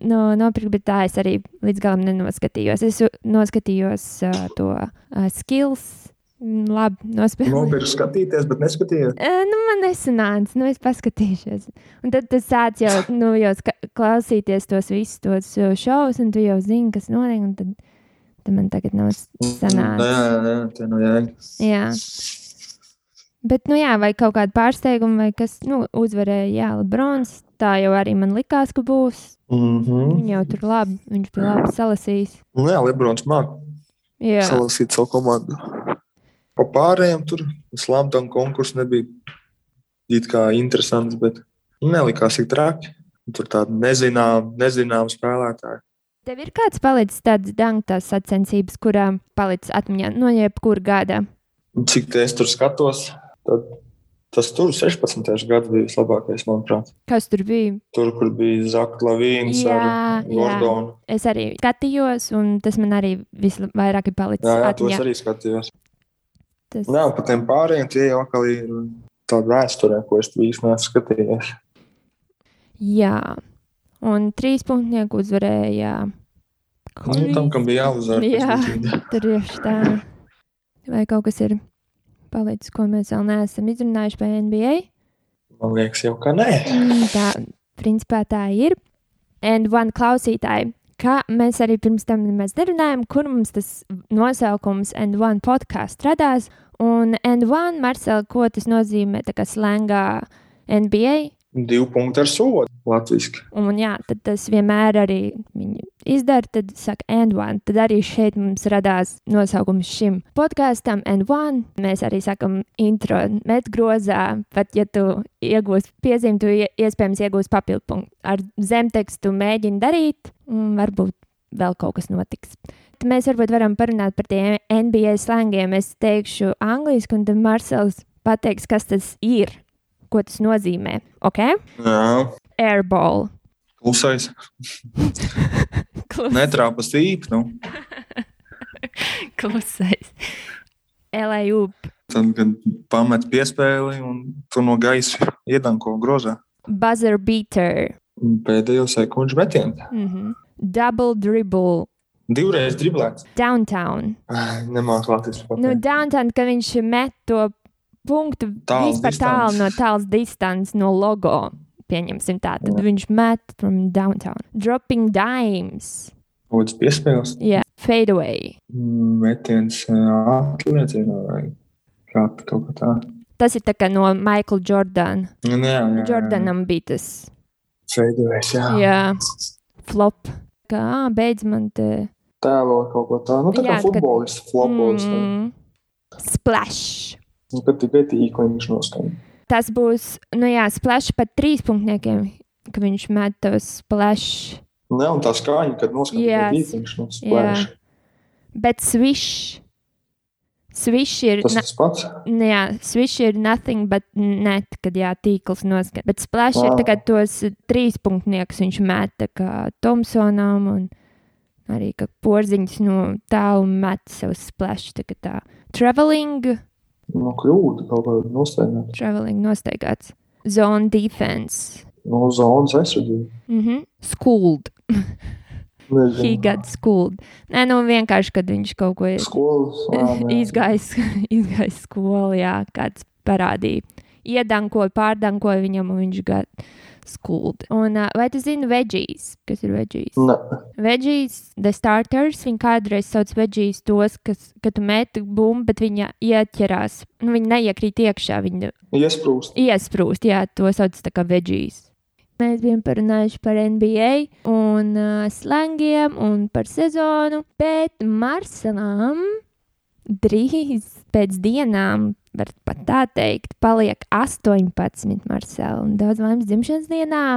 Speaker 1: no, nopirku, bet tā es arī līdz galam nenoskatījos. Es u- noskatījos uh, to uh, skills. Mm, Labi, nospēlēju.
Speaker 2: Nopietni Nu, skatīties, bet neskatījos.
Speaker 1: Eh, Nu, man nesanāca, nu, es paskatīšos. Un tad tas sāc jau, nu, jau ska- klausīties tos visus tos eh, šovus, un tu jau zini, kas notiek. un Tad, tad man tagad nav s-
Speaker 2: Nu, Jā,
Speaker 1: sanācis.
Speaker 2: jā, jā, tā nav jēga.
Speaker 1: Jā. Bet, nu, jā, vai kaut kāda pārsteiguma, vai kas, nu, uzvarēja, jā, Lebrons. Tā jau arī man likās, ka būs.
Speaker 2: Mhm.
Speaker 1: Viņš jau tur labi, viņš bija labi salasījis.
Speaker 2: Nu, jā, Lebrons mākslinieks
Speaker 1: Jā,
Speaker 2: salasīt savu komandu. Pa pārējiem tur slāmtam konkursu nebija it kā interesants, bet nelikās tik traki. Tur tāda nezināma, nezināma spēlētāja.
Speaker 1: tev ir kāds palicis tāds dangtas sacensības, kurām palicis atmiņā no jebkura gada.
Speaker 2: Un Cik tā es tur skatos, tad tas tur 16. gads bija vislabākais, manuprāt.
Speaker 1: Kas tur bija?
Speaker 2: Tur, kur bija Zaka Lavīns
Speaker 1: Jā,
Speaker 2: ar
Speaker 1: jā.
Speaker 2: Gordonu.
Speaker 1: Es arī skatījos, un tas man arī vislabāk ir palicis
Speaker 2: Jā, jā, to
Speaker 1: atmiņā.
Speaker 2: es arī skatījos.
Speaker 1: Tas...
Speaker 2: Nē, par tiem pārējiem tie jau atkal ir tāda vēsturē, ko es īstenībā neesmu skatījies.
Speaker 1: Jā, un trīs punktnieku uzvarēja.
Speaker 2: Nu, tam, kam bija jāuzvar,
Speaker 1: Jā.
Speaker 2: tas bija
Speaker 1: Tur tieši tā. Vai kaut kas ir palicis, ko mēs vēl neesam izrunājuši par NBA?
Speaker 2: man
Speaker 1: Hm,
Speaker 2: liekas, jau ka nē.
Speaker 1: Mm, Tā, principā tā ir. And one klausītāji, ka mēs arī pirms tam nemaz nerunājām, kur mums tas nosaukums And One podkāsts radās. Un And One, Marcel, ko tas nozīmē tā kā slēngā NBA?
Speaker 2: Divu punktu ar sodu latviešu.
Speaker 1: Un jā, tad tas vienmēr arī viņi izdara, tad saka And One. Tad arī šeit mums radās nosaukums šim podkāstam And One. Mēs arī sakam intro metgrozā, pat ja tu iegūsi piezīmi, tu ie- iespējams iegūsi papildu punktu. Ar zemtekstu mēģini darīt, un varbūt vēl kaut kas notiks. Tad mēs varbūt varam parunāt par tiem NBA slēngiem. Es teikšu angliski, un tad Marcels pateiks, kas tas ir, ko tas nozīmē. Ok?
Speaker 2: Jā,
Speaker 1: Airball.
Speaker 2: klusais.
Speaker 1: Klus,
Speaker 2: Netrāpas īpni. Nu.
Speaker 1: klusais. LAU.
Speaker 2: Tad, kad pamet piespēli un tu no gaisa iedanko grozā.
Speaker 1: Buzzer beater.
Speaker 2: Un Pēdējo sekundžu metienu.
Speaker 1: Mm -hmm. Double dribble.
Speaker 2: Divreiz driblēts.
Speaker 1: Downtown.
Speaker 2: Nemāku latviešu
Speaker 1: Nu,
Speaker 2: papīru.
Speaker 1: downtown, ka viņš met to punktu
Speaker 2: Tāls
Speaker 1: vispār tālu
Speaker 2: distance.
Speaker 1: no tāls distances, no logo. Pieņemsim tā. Tad
Speaker 2: Jā.
Speaker 1: viņš met from downtown. Dropping dimes.
Speaker 2: Būtis piespēles.
Speaker 1: Jā. Fade away.
Speaker 2: Metiens ā, atliecienā vai kā kaut kā tā.
Speaker 1: Tas ir tā kā no Michael Jordan.
Speaker 2: Nu, nu, Jā, jā, jā.
Speaker 1: Jordanam bija tas.
Speaker 2: Feidojais, jā.
Speaker 1: Jā. Flop. Ah, Kā, ā, beidz man te.
Speaker 2: Tēlo kaut ko tādu. Nu, tā
Speaker 1: Jā,
Speaker 2: kā
Speaker 1: kad-
Speaker 2: futbolists, flopolis. Mm.
Speaker 1: Mm. Splash.
Speaker 2: Nu, kad tikai tīkliņš noskaņa.
Speaker 1: Tas būs, nu jā, splash pat trīs punktiem, ka viņš met tos splash.
Speaker 2: Nē, un tā skaņa, kad noskaņa
Speaker 1: Jā.
Speaker 2: tikai tīkliņš no
Speaker 1: Jā.
Speaker 2: splēša.
Speaker 1: Bet swish. Swish ir.
Speaker 2: Tas
Speaker 1: na-
Speaker 2: tas pats.
Speaker 1: Nu jā, swish ir nothing but net, kad jā, tīkls noskatās. Bet splash wow. ir
Speaker 2: Wow.
Speaker 1: tagad tos trīs punktniekus viņš met tā kā Tomsonam un arī kā porziņš no tālu met savu splash. Tā kā tā. Traveling,
Speaker 2: Nu, kļūda kaut kā noskaņa.
Speaker 1: traveling nosteigāts. Zone defense.
Speaker 2: No zonas aizsardzība.
Speaker 1: Mhm. Mm Skuld.
Speaker 2: Nezinu.
Speaker 1: He got schooled. Nē, nu vienkārši, kad viņš kaut ko ir
Speaker 2: Skolas. ā, nē.
Speaker 1: izgājis, izgājis skolā, jā, kāds parādīja. Iedankoja, pārdankoja viņam, un viņš got schooled. Un, ā, vai tu zini veģijas? Kas ir veģijas?
Speaker 2: Nē,
Speaker 1: Veģijas, the starters, viņi kādreiz sauc veģijas tos, kas, kad tu meti bumbu, bet viņa ieķerās. Nu, viņa neiekrīt iekšā, viņa
Speaker 2: iesprūst.
Speaker 1: iesprūst. Jā, to sauc tā kā veģijas. Mēs bijām parunājuši par NBA, un uh, slangiem un par sezonu. Bet Marselam drīz pēc dienām, var pat tā teikt, paliek 18 Marsela un daudz laimes dzimšanas dienā.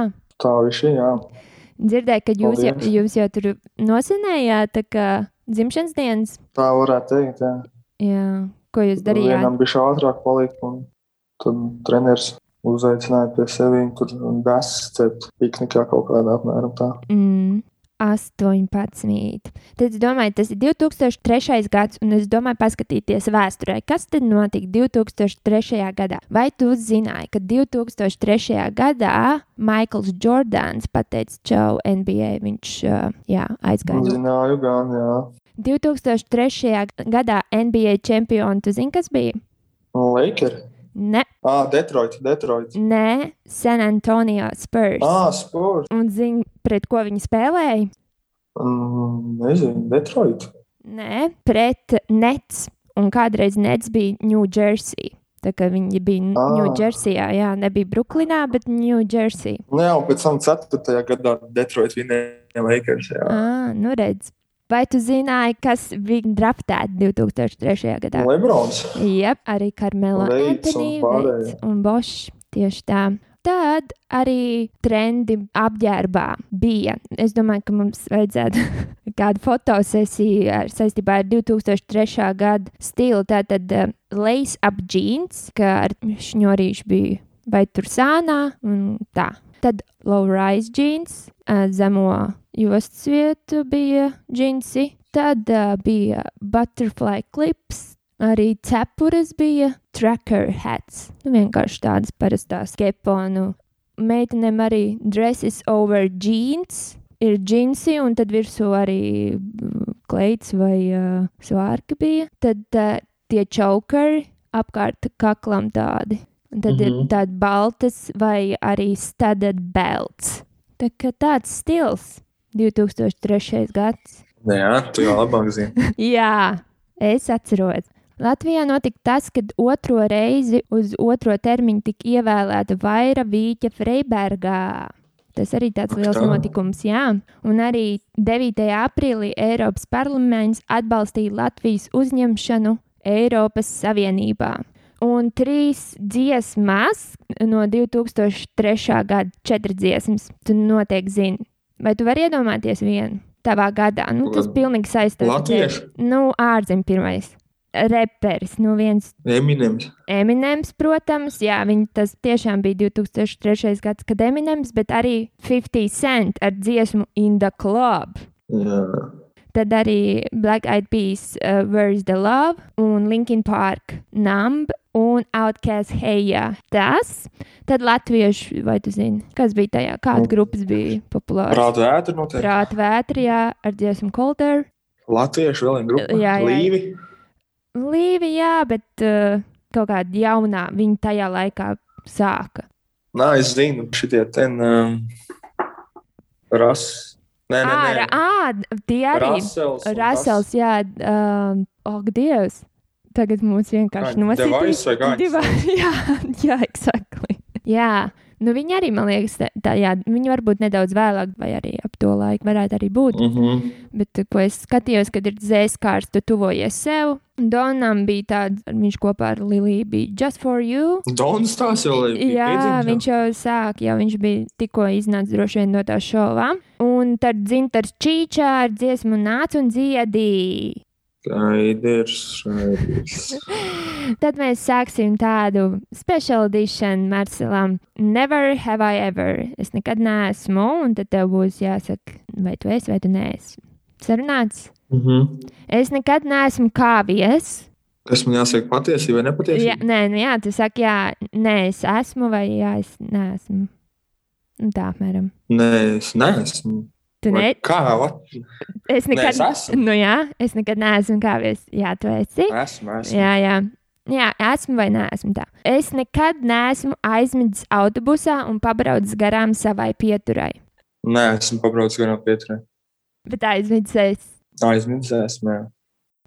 Speaker 2: Tā visi, jā.
Speaker 1: Dzirdēju, ka jūs, jau,
Speaker 2: Paldies.
Speaker 1: jūs jau tur nosinējāt, tā kā dzimšanas dienas.
Speaker 2: Tā varētu teikt, jā.
Speaker 1: Jā, ko jūs darījāt?
Speaker 2: Vienam bija ātrāk palikt, un tad treneris uzaicināja pie sevis tur desmit piknikā kaut kādā apmēram tā.
Speaker 1: Mm, 18. Tad es domāju, tas ir 2003. gads, un es domāju, paskatīties vēsturē, kas tad notika 2003. gadā. Vai tu zināji, ka 2003. gadā Maikls Jordans pateica, čau, NBA viņš uh, jā, aizgāja. no-
Speaker 2: Zināju gan, jā.
Speaker 1: 2003. gadā NBA čempioni, tu zini, kas bija?
Speaker 2: Un Lakers.
Speaker 1: Ne,
Speaker 2: Ā, Detroit, Detroit.
Speaker 1: ne San Antonio Spurs.
Speaker 2: Ā, Spurs.
Speaker 1: Un zini, pret ko viņi spēlēja?
Speaker 2: Mm, nezinu, Detroit.
Speaker 1: Nē, pret Nets. Un kādreiz Nets bija Ņūdžersī. Tā kā viņi bija
Speaker 2: Ah.
Speaker 1: Ņūdžersijā, jā, nebija Brooklynā, bet Ņūdžersī.
Speaker 2: Nē, Nu un pēc tam 4. gadā Detroit vinēja Lakers, jā.
Speaker 1: Ah, nu redz. Vai tu zināji, kas bija draftēts 2003. gadā?
Speaker 2: Nu, Lebrons.
Speaker 1: Jā, arī Karmela
Speaker 2: Veids un
Speaker 1: Antoni,
Speaker 2: pārējie.
Speaker 1: Veids un Bošs. Tieši tā. Tad arī trendi apģērbā bija. Es domāju, ka mums vajadzētu kādu fotosesiju ar, saistībā ar 2003. gada stilu. Tātad uh, lace up jeans, kā ar šņurīšu bija vai tur sānā un tā. Tad low-rise jeans, uh, zemo jostas vietu bija džinsi. Tad uh, bija butterfly clips, Arī cepures bija tracker hats. Nu, vienkārši tādas parastās keponu. Meitenēm arī dresses over jeans. Ir džinsi, un tad virsū arī mm, kleits vai uh, svārki bija. Tad uh, tie čaukari apkārt kaklam tādi. Un tad mm -hmm. ir
Speaker 2: Mhm.
Speaker 1: tādas baltas vai arī studded belts. Tā kā tāds stils 2003. gads.
Speaker 2: Nu Jā, tu jau labāk zini.
Speaker 1: Jā, es atceros. Latvijā notika tas, kad otro reizi uz otro termiņu tika ievēlēta Vaira Vīķa Freibergā. Tas arī tāds
Speaker 2: Ak,
Speaker 1: liels
Speaker 2: tā.
Speaker 1: notikums, jā. Un arī 9. aprīlī Eiropas parlaments atbalstīja Latvijas uzņemšanu Eiropas Savienībā. Un trīs dziesmas no 2003. gada četri dziesmas. Tu noteikti zini, vai tu vari iedomāties vienu tavā gadā? Nu, tas pilnīgi saistās ar tevi.
Speaker 2: Latviešu
Speaker 1: Nu, ārzemēs pirmais. Reperis, nu viens
Speaker 2: Eminems.
Speaker 1: Eminems, protams, jā, viņa tas tiešām bija 2003. gads, kad Eminems, bet arī 50 cent ar dziesmu In the Club.
Speaker 2: Jā,
Speaker 1: Tad arī Black Eyed Peas, uh, Where's the Love, un Linkin Park, Numb un Outcast Heja. Tas, tad latviešu, vai tu zini, kas bija tajā, kāda grupas bija populāra?
Speaker 2: prāta vētra noteikti.
Speaker 1: Prāt vētrijā ar dziesmu Colder.
Speaker 2: Latviešu vēl viena grupa.
Speaker 1: Jā, jā.
Speaker 2: Līvi.
Speaker 1: Līvi, jā, bet uh, kaut kāda jaunā viņa tajā laikā sāka.
Speaker 2: Nā, es zinu, šitie ten um, ras. Nē,
Speaker 1: Ā,
Speaker 2: nē, nē.
Speaker 1: ra- ā, tie arī.
Speaker 2: Rasels. un
Speaker 1: Rasels, jā, um, ak, Dievs. Tagad mums vienkārši
Speaker 2: Kā, Device vai kā
Speaker 1: nosaka,
Speaker 2: viņas
Speaker 1: jā, jā, exactly. Jā, nu viņi arī, man liekas, tā- tā, jā, viņi varbūt nedaudz vēlāk, vai arī ap to laiku varētu arī būt.
Speaker 2: Mhm.
Speaker 1: Bet, ko es skatījos, kad ir zēskārs, tu tuvojies sev. Donam bija tāds, viņš kopā ar Liliju bija Just for You.
Speaker 2: Dons tās jau bija.
Speaker 1: Jā,
Speaker 2: piedzimis,
Speaker 1: viņš jau sāk, jau viņš bija tikko iznācis droši vien no tā šova. Un tad dzintars čīčā ar dziesmu nāca un dziedīja.
Speaker 2: Raiders, raiders.
Speaker 1: Tad mēs sāksim tādu special edition Marcelam. Never have I ever. Es nekad neesmu, un tad tev būs jāsaka, vai tu esi vai tu neesi. Sarunāts.
Speaker 2: Mhm.
Speaker 1: Es nekad neesmu kāvies.
Speaker 2: Kas man jāsaka patiesība vai
Speaker 1: Jā,
Speaker 2: nepatiesība?
Speaker 1: nē, nu jā, tu saki, jā, nē, es esmu vai jā, es neesmu. Nu, tā apmēram.
Speaker 2: Nē, es neesmu.
Speaker 1: Tu
Speaker 2: Vai
Speaker 1: ne,
Speaker 2: Kā? Va?
Speaker 1: Es
Speaker 2: Nē,
Speaker 1: nekad,
Speaker 2: es esmu.
Speaker 1: nu, jā, es nekad neesmu kāvies. Jā, tu esi.
Speaker 2: Esmu, esmu.
Speaker 1: Jā, jā. jā, esmu vai neesmu tā. Es nekad neesmu aizmidzis autobusā un pabraucis garām savai pieturai.
Speaker 2: Nē, esmu pabraucis garām pieturē.
Speaker 1: Bet aizmidzēs.
Speaker 2: Aizmirsis, esmu. Jā.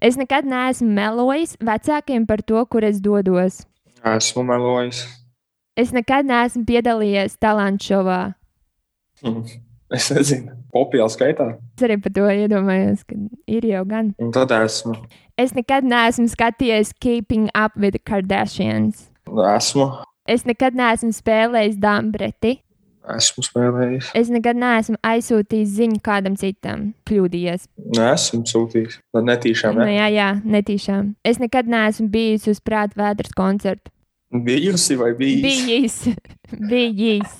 Speaker 1: Es nekad neesmu melojis vecākiem par to, kur es dodos.
Speaker 2: Esmu melojis.
Speaker 1: Es nekad neesmu piedalījies talantu šovā.
Speaker 2: Mhm. Es nezinu, popjāla skaitā.
Speaker 1: Es arī par to iedomājos, ka ir jau gan.
Speaker 2: Un tad esmu.
Speaker 1: Es nekad neesmu skatījies Keeping Up with the Kardashians.
Speaker 2: Esmu.
Speaker 1: Es nekad neesmu spēlējis Dambreti.
Speaker 2: Esmu spēlējis.
Speaker 1: Es nekad neesmu aizsūtījis ziņu kādam citam, kļūdījies.
Speaker 2: Nē, esmu sūtījis. Tad netīšām.
Speaker 1: Nu,
Speaker 2: Ne?
Speaker 1: jā, jā, netīšām. Es nekad neesmu bijis uz prāta vētras koncertu.
Speaker 2: Bijusi vai bijis?
Speaker 1: Bijis, bijis.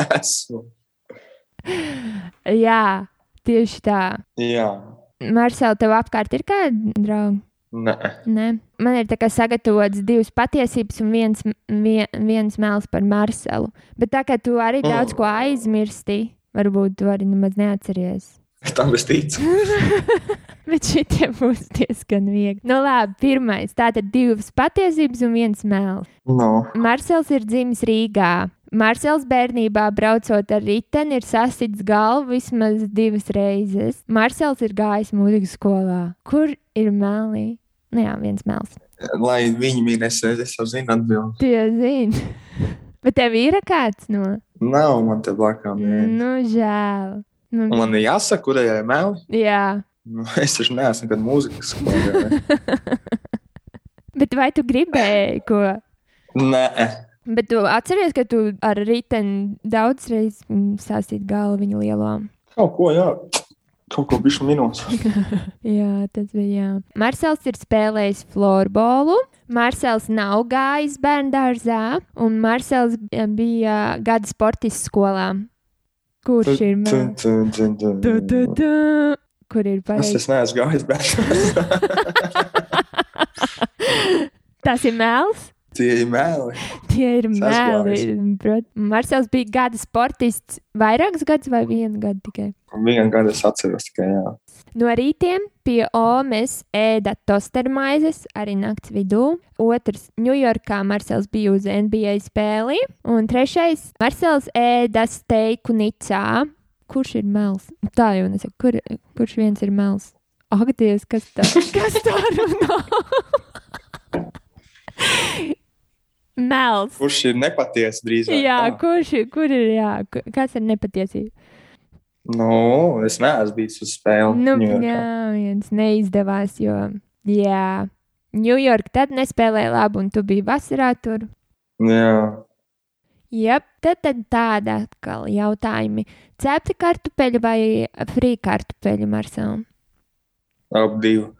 Speaker 2: Esmu.
Speaker 1: Jā, tieši tā.
Speaker 2: Jā.
Speaker 1: Marcel, tev apkārt ir kādi draugi?
Speaker 2: Nē.
Speaker 1: Nē, man ir tā kā sagatavots divas patiesības un viens, vien, viens mēls par Marcelu. Bet tā kā tu
Speaker 2: Mm.
Speaker 1: arī daudz ko aizmirsti, varbūt tu arī nemaz neatceries.
Speaker 2: Tam es ticu.
Speaker 1: Bet šitie būs diezgan viegli. Nu, labi, pirmais. Tātad divas patiesības un viens mēls.
Speaker 2: No.
Speaker 1: Marcels ir dzimis Rīgā. Marcels bērnībā braucot ar riteni ir sasits galvu vismaz divas reizes. Marcels ir gājis mūzikas skolā. Kur ir melnī? Nu jā, viens mēls.
Speaker 2: Lai viņi minēs, es jau zinu atbildi.
Speaker 1: Tie zina. Bet tev ir kāds no?
Speaker 2: Nav man te blakām. Mm.
Speaker 1: Nu, žēl. Nu,
Speaker 2: Man ir jāsaka, kurējai mēlē.
Speaker 1: jā.
Speaker 2: Nu, es taču neesmu nekad mūzikas skolā.
Speaker 1: Bet vai tu gribēji ko?
Speaker 2: Nē,
Speaker 1: Bet tu atceries, ka tu ar riteni daudz reizes sāstīji galvu viņa lielo.
Speaker 2: kaut ko, jā, kaut ko bišķi minūtes.
Speaker 1: Jā, tas bija. Jā. Marcels ir spēlējis florbolu. Marcels nav gājis bērnu dārzā, un Marcels eh, bija gada sportists skolā. Kurš ir
Speaker 2: Dun,
Speaker 1: Marcels?
Speaker 2: dun, dun, dun.
Speaker 1: Kur ir
Speaker 2: Es
Speaker 1: pareizi?
Speaker 2: tas neesmu gājis, bet
Speaker 1: Tas ir mēls.
Speaker 2: tie ir mēli.
Speaker 1: Tie ir
Speaker 2: Es esmu
Speaker 1: mēli. prot- Marcels bija gada sportists vairākus gadus vai vienu gadu tikai.
Speaker 2: Vienā gadā es atceros tikai, jā.
Speaker 1: No rītiem pie Omas ēda tostermaizes, arī naktas vidū. Otrs, Ņujorkā Marsels bija uz NBA spēli. Un trešais, Marsels ēda steiku Nicā. kurš ir mels? Tā jau nesaku, kur, kurš viens ir mels? Ak, Dievs, kas tā, kas tā runā? Mels.
Speaker 2: Kurš ir nepatiesa drīzāk?
Speaker 1: Jā,
Speaker 2: tā.
Speaker 1: kurš ir, kur ir, jā, ku- kas ir nepatiesība?
Speaker 2: Nu, es neesmu bijis uz spēli.
Speaker 1: Nu,
Speaker 2: Ņujorkā.
Speaker 1: jā, viens neizdevās, jo, jā, Ņujorka tad nespēlēja labi, un tu biji vasarā tur.
Speaker 2: jā.
Speaker 1: Jā, tad, tad tāda atkal jautājumi. Cepta kartupeļu vai frī kartupeļu marsām?
Speaker 2: Ap divu.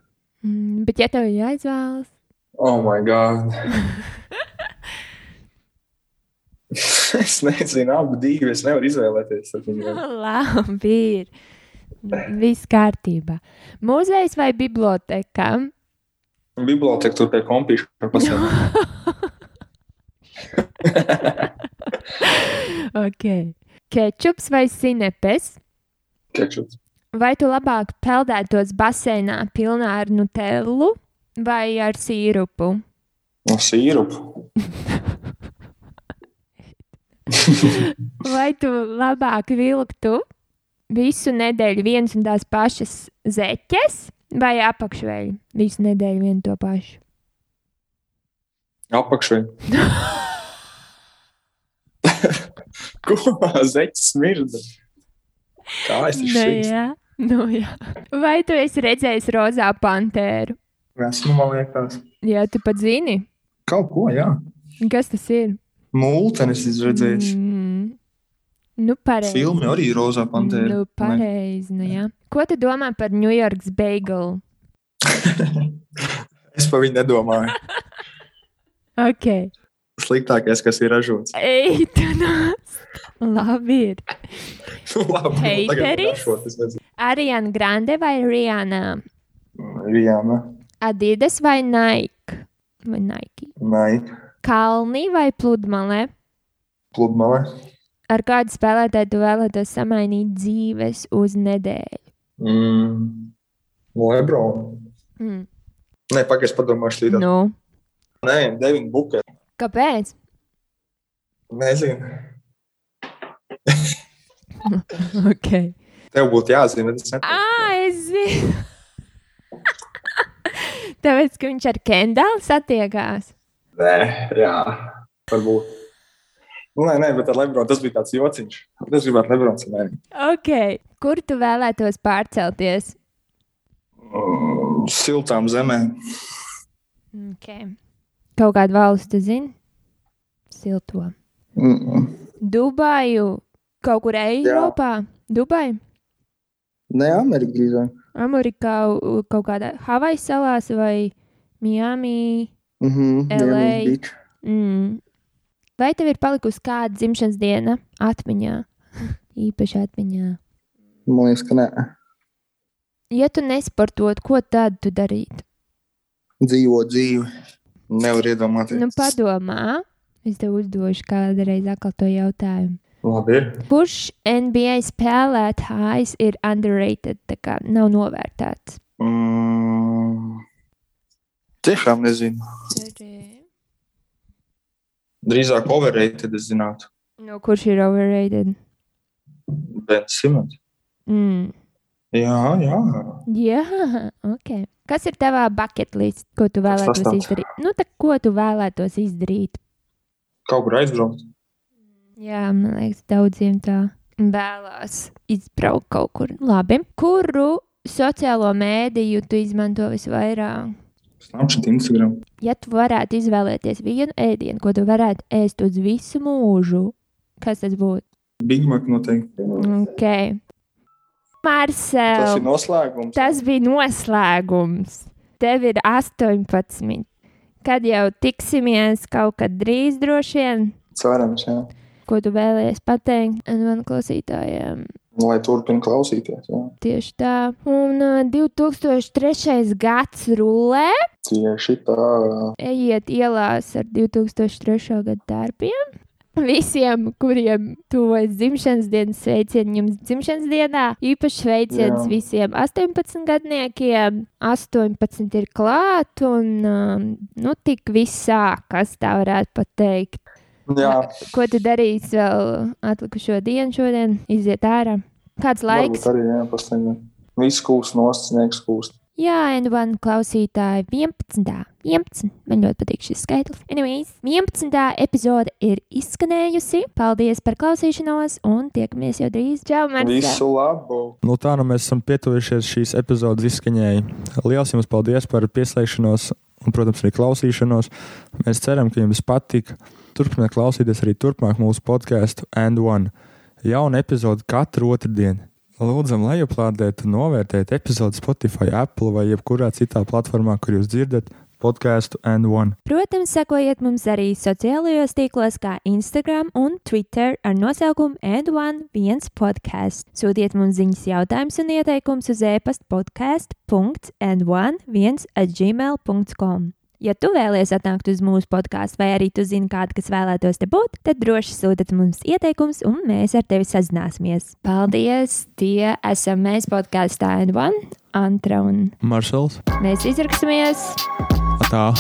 Speaker 1: Mm, bet, ja tev ir jāizvēlas,
Speaker 2: Oh, my God. es nezinu, abi divi. Es nevaru izvēlēties. starp viņiem.
Speaker 1: labi, ir. Viss kārtībā. Mūzejs vai biblioteka?
Speaker 2: Biblioteka tur pie kompīša pasaka.
Speaker 1: ok. Kečups vai sinepes?
Speaker 2: Kečups.
Speaker 1: Vai tu labāk peldētos baseinā pilnā ar nutellu vai ar sīrupu?
Speaker 2: No sīrupu.
Speaker 1: Vai tu labāk vilktu visu nedēļu vienas un tās pašas zeķes vai apakšveļu? Visu nedēļu vienu to pašu.
Speaker 2: Apakšai. Ko? Zeķis smirda. Kā es esmu šis?
Speaker 1: Nu jā. Nu, jā. Vai tu esi redzējis rozā pantēru?
Speaker 2: Esmu, man liekas.
Speaker 1: Jā, tu pat zini,
Speaker 2: Kaut ko, jā.
Speaker 1: kas tas ir.
Speaker 2: Multenis es redzēju.
Speaker 1: Mm. Nu, pareizi.
Speaker 2: Filmi arī ir rozā pantēra.
Speaker 1: Nu, pareizi, nu jā. Ko tu domā par New York's bagel?
Speaker 2: Es par viņu nedomāju.
Speaker 1: Ok.
Speaker 2: Sliktākais, kas ir ražots.
Speaker 1: Ej, tu nāc! Labi ir.
Speaker 2: Labi, nu, tagad
Speaker 1: Heiteris?
Speaker 2: ražot, es nezinu.
Speaker 1: Ariana Grande vai Rihanna?
Speaker 2: Rihanna,
Speaker 1: Adidas vai Nike? Vai Nike?
Speaker 2: Naika,
Speaker 1: Kalni vai pludmale?
Speaker 2: Pludmale,
Speaker 1: Ar kādu spēlētāju tu vēlētos samainīt dzīves uz nedēļu?
Speaker 2: mm. Lebron.
Speaker 1: Mm.
Speaker 2: Nē, pagaidi, es padomāšu, tā ir. No.
Speaker 1: Nu,
Speaker 2: Nē, Devin Booker.
Speaker 1: kāpēc?
Speaker 2: Nezinu.
Speaker 1: Okay.
Speaker 2: Tev būtu jāzina, bet es nezinu.
Speaker 1: Ah, es zinu! Tāpēc, ka viņš ar Kendālu satiekās.
Speaker 2: Nē, jā, varbūt. Nu, nē, nē, bet ar Lebronu tas bija tāds jociņš. Es gribētu Lebronu samērīt.
Speaker 1: Okay. Kur tu vēlētos pārcelties?
Speaker 2: Mm, Siltām zemēm.
Speaker 1: Okay. Kaut kādu valstu zini? Silto.
Speaker 2: Mm.
Speaker 1: Dubaju, kaut kur Eiropā, Dubaju,
Speaker 2: Nē, Amerikā drīzāk.
Speaker 1: Amerikā, u- kaut kādā Havaju salās vai Miami.
Speaker 2: Mhm,
Speaker 1: LA. Miami Beach. Mm. Vai tev ir palikusi kāda dzimšanas diena atmiņā? Īpaši atmiņā.
Speaker 2: Man liekas, ka nē.
Speaker 1: Ja tu nesportot, ko tad tu darītu?
Speaker 2: Dzīvo dzīvi. Nevar iedomāties.
Speaker 1: Nu, padomā, es tev uzdošu kādreiz atkal to jautājumu.
Speaker 2: Labi. ir.
Speaker 1: Kurš NBA spēlētājs ir underrated, tā kā nav novērtēts?
Speaker 2: Mm. Tiešām nezinu. Drīzāk overrated, es zinātu.
Speaker 1: No kurš ir overrated?
Speaker 2: Ben Simons.
Speaker 1: Mm.
Speaker 2: Jā, jā.
Speaker 1: Jā, ok. Kas ir tavā bucket list, ko tu vēlētos
Speaker 2: sastāvs.
Speaker 1: izdarīt? Nu, tā ko tu vēlētos izdarīt?
Speaker 2: Kaut kur aizbraukt.
Speaker 1: Jā, man liekas, daudziem tā vēlās izbraukt kaut kur. Labi. Kuru sociālo mēdīju tu izmanto visvairāk?
Speaker 2: Snapchat, Instagram.
Speaker 1: Ja tu varētu izvēlēties vienu ēdienu, ko tu varētu ēst uz visu mūžu, kas tas būtu?
Speaker 2: Big Mac noteikti.
Speaker 1: Ok.
Speaker 2: Tas
Speaker 1: Marcel,
Speaker 2: ir noslēgums.
Speaker 1: tas bija noslēgums. Tev ir 18. Kad jau tiksimies kaut kad drīz, droši vien,
Speaker 2: Cerams, jā.
Speaker 1: ko tu vēlējies pateikt maniem klausītājiem.
Speaker 2: Nu, Lai turpina klausīties. Jā.
Speaker 1: Tieši tā. Un uh, 2003. gads rullē.
Speaker 2: Tieši tā.
Speaker 1: Ejiet ielās ar 2003. gada darbiem. Visiem, kuriem tuvojas dzimšanas dienas sveicieni, jums dzimšanas dienā īpaši sveiciens
Speaker 2: Jā.
Speaker 1: visiem 18 gadniekiem. 18 ir klāt, un um, nu, tik visā, kas tā varētu pateikt.
Speaker 2: jā.
Speaker 1: Ko tu darīsi vēl atlikušo dienu šodien? Iziet ārā. Kāds laiks?
Speaker 3: Varbūt arī jāpasniedz. Viss kūst nost, sniegs kūst.
Speaker 1: Jā, N1 klausītāji, 11. 11. Man ļoti patīk šis skaitlis. Anyways, 11. epizode ir izskanējusi. Paldies par klausīšanos, un tiekamies jau drīz. Čau, Marta!
Speaker 3: Visu labu!
Speaker 2: Nu, tā nu mēs esam pietuvušies šīs epizodes izskaņai. Lielas jums paldies par pieslēgšanos un, protams, arī klausīšanos. Mēs ceram, ka jums patika. Turpiniet klausīties arī turpmāk mūsu podkāstu And One. Jauna epizode katru otrdienu. Lūdzam, lai aplādētu un novērtētu epizodi Spotify, Apple vai jebkurā citā platformā, kur jūs dzirdat podkāstu And One.
Speaker 1: Protams, sekojiet mums arī sociālajos tīklos, kā Instagram un Twitter ar nosaukumu N1 viens podkāsts. Sūtiet mums ziņas, jautājumus un ieteikumus uz e-pasta podkāstu.n11.gmail.com. Ja tu vēlies atnākt uz mūsu podkāstu, vai arī tu zini kādu, kas vēlētos te būt, tad droši sūtiet mums ieteikumus, un mēs ar tevi sazināsimies. Paldies! Tie esam mēs podkāstā N1, Antra un
Speaker 2: Maršals,
Speaker 1: mēs izraksimies!
Speaker 2: tā!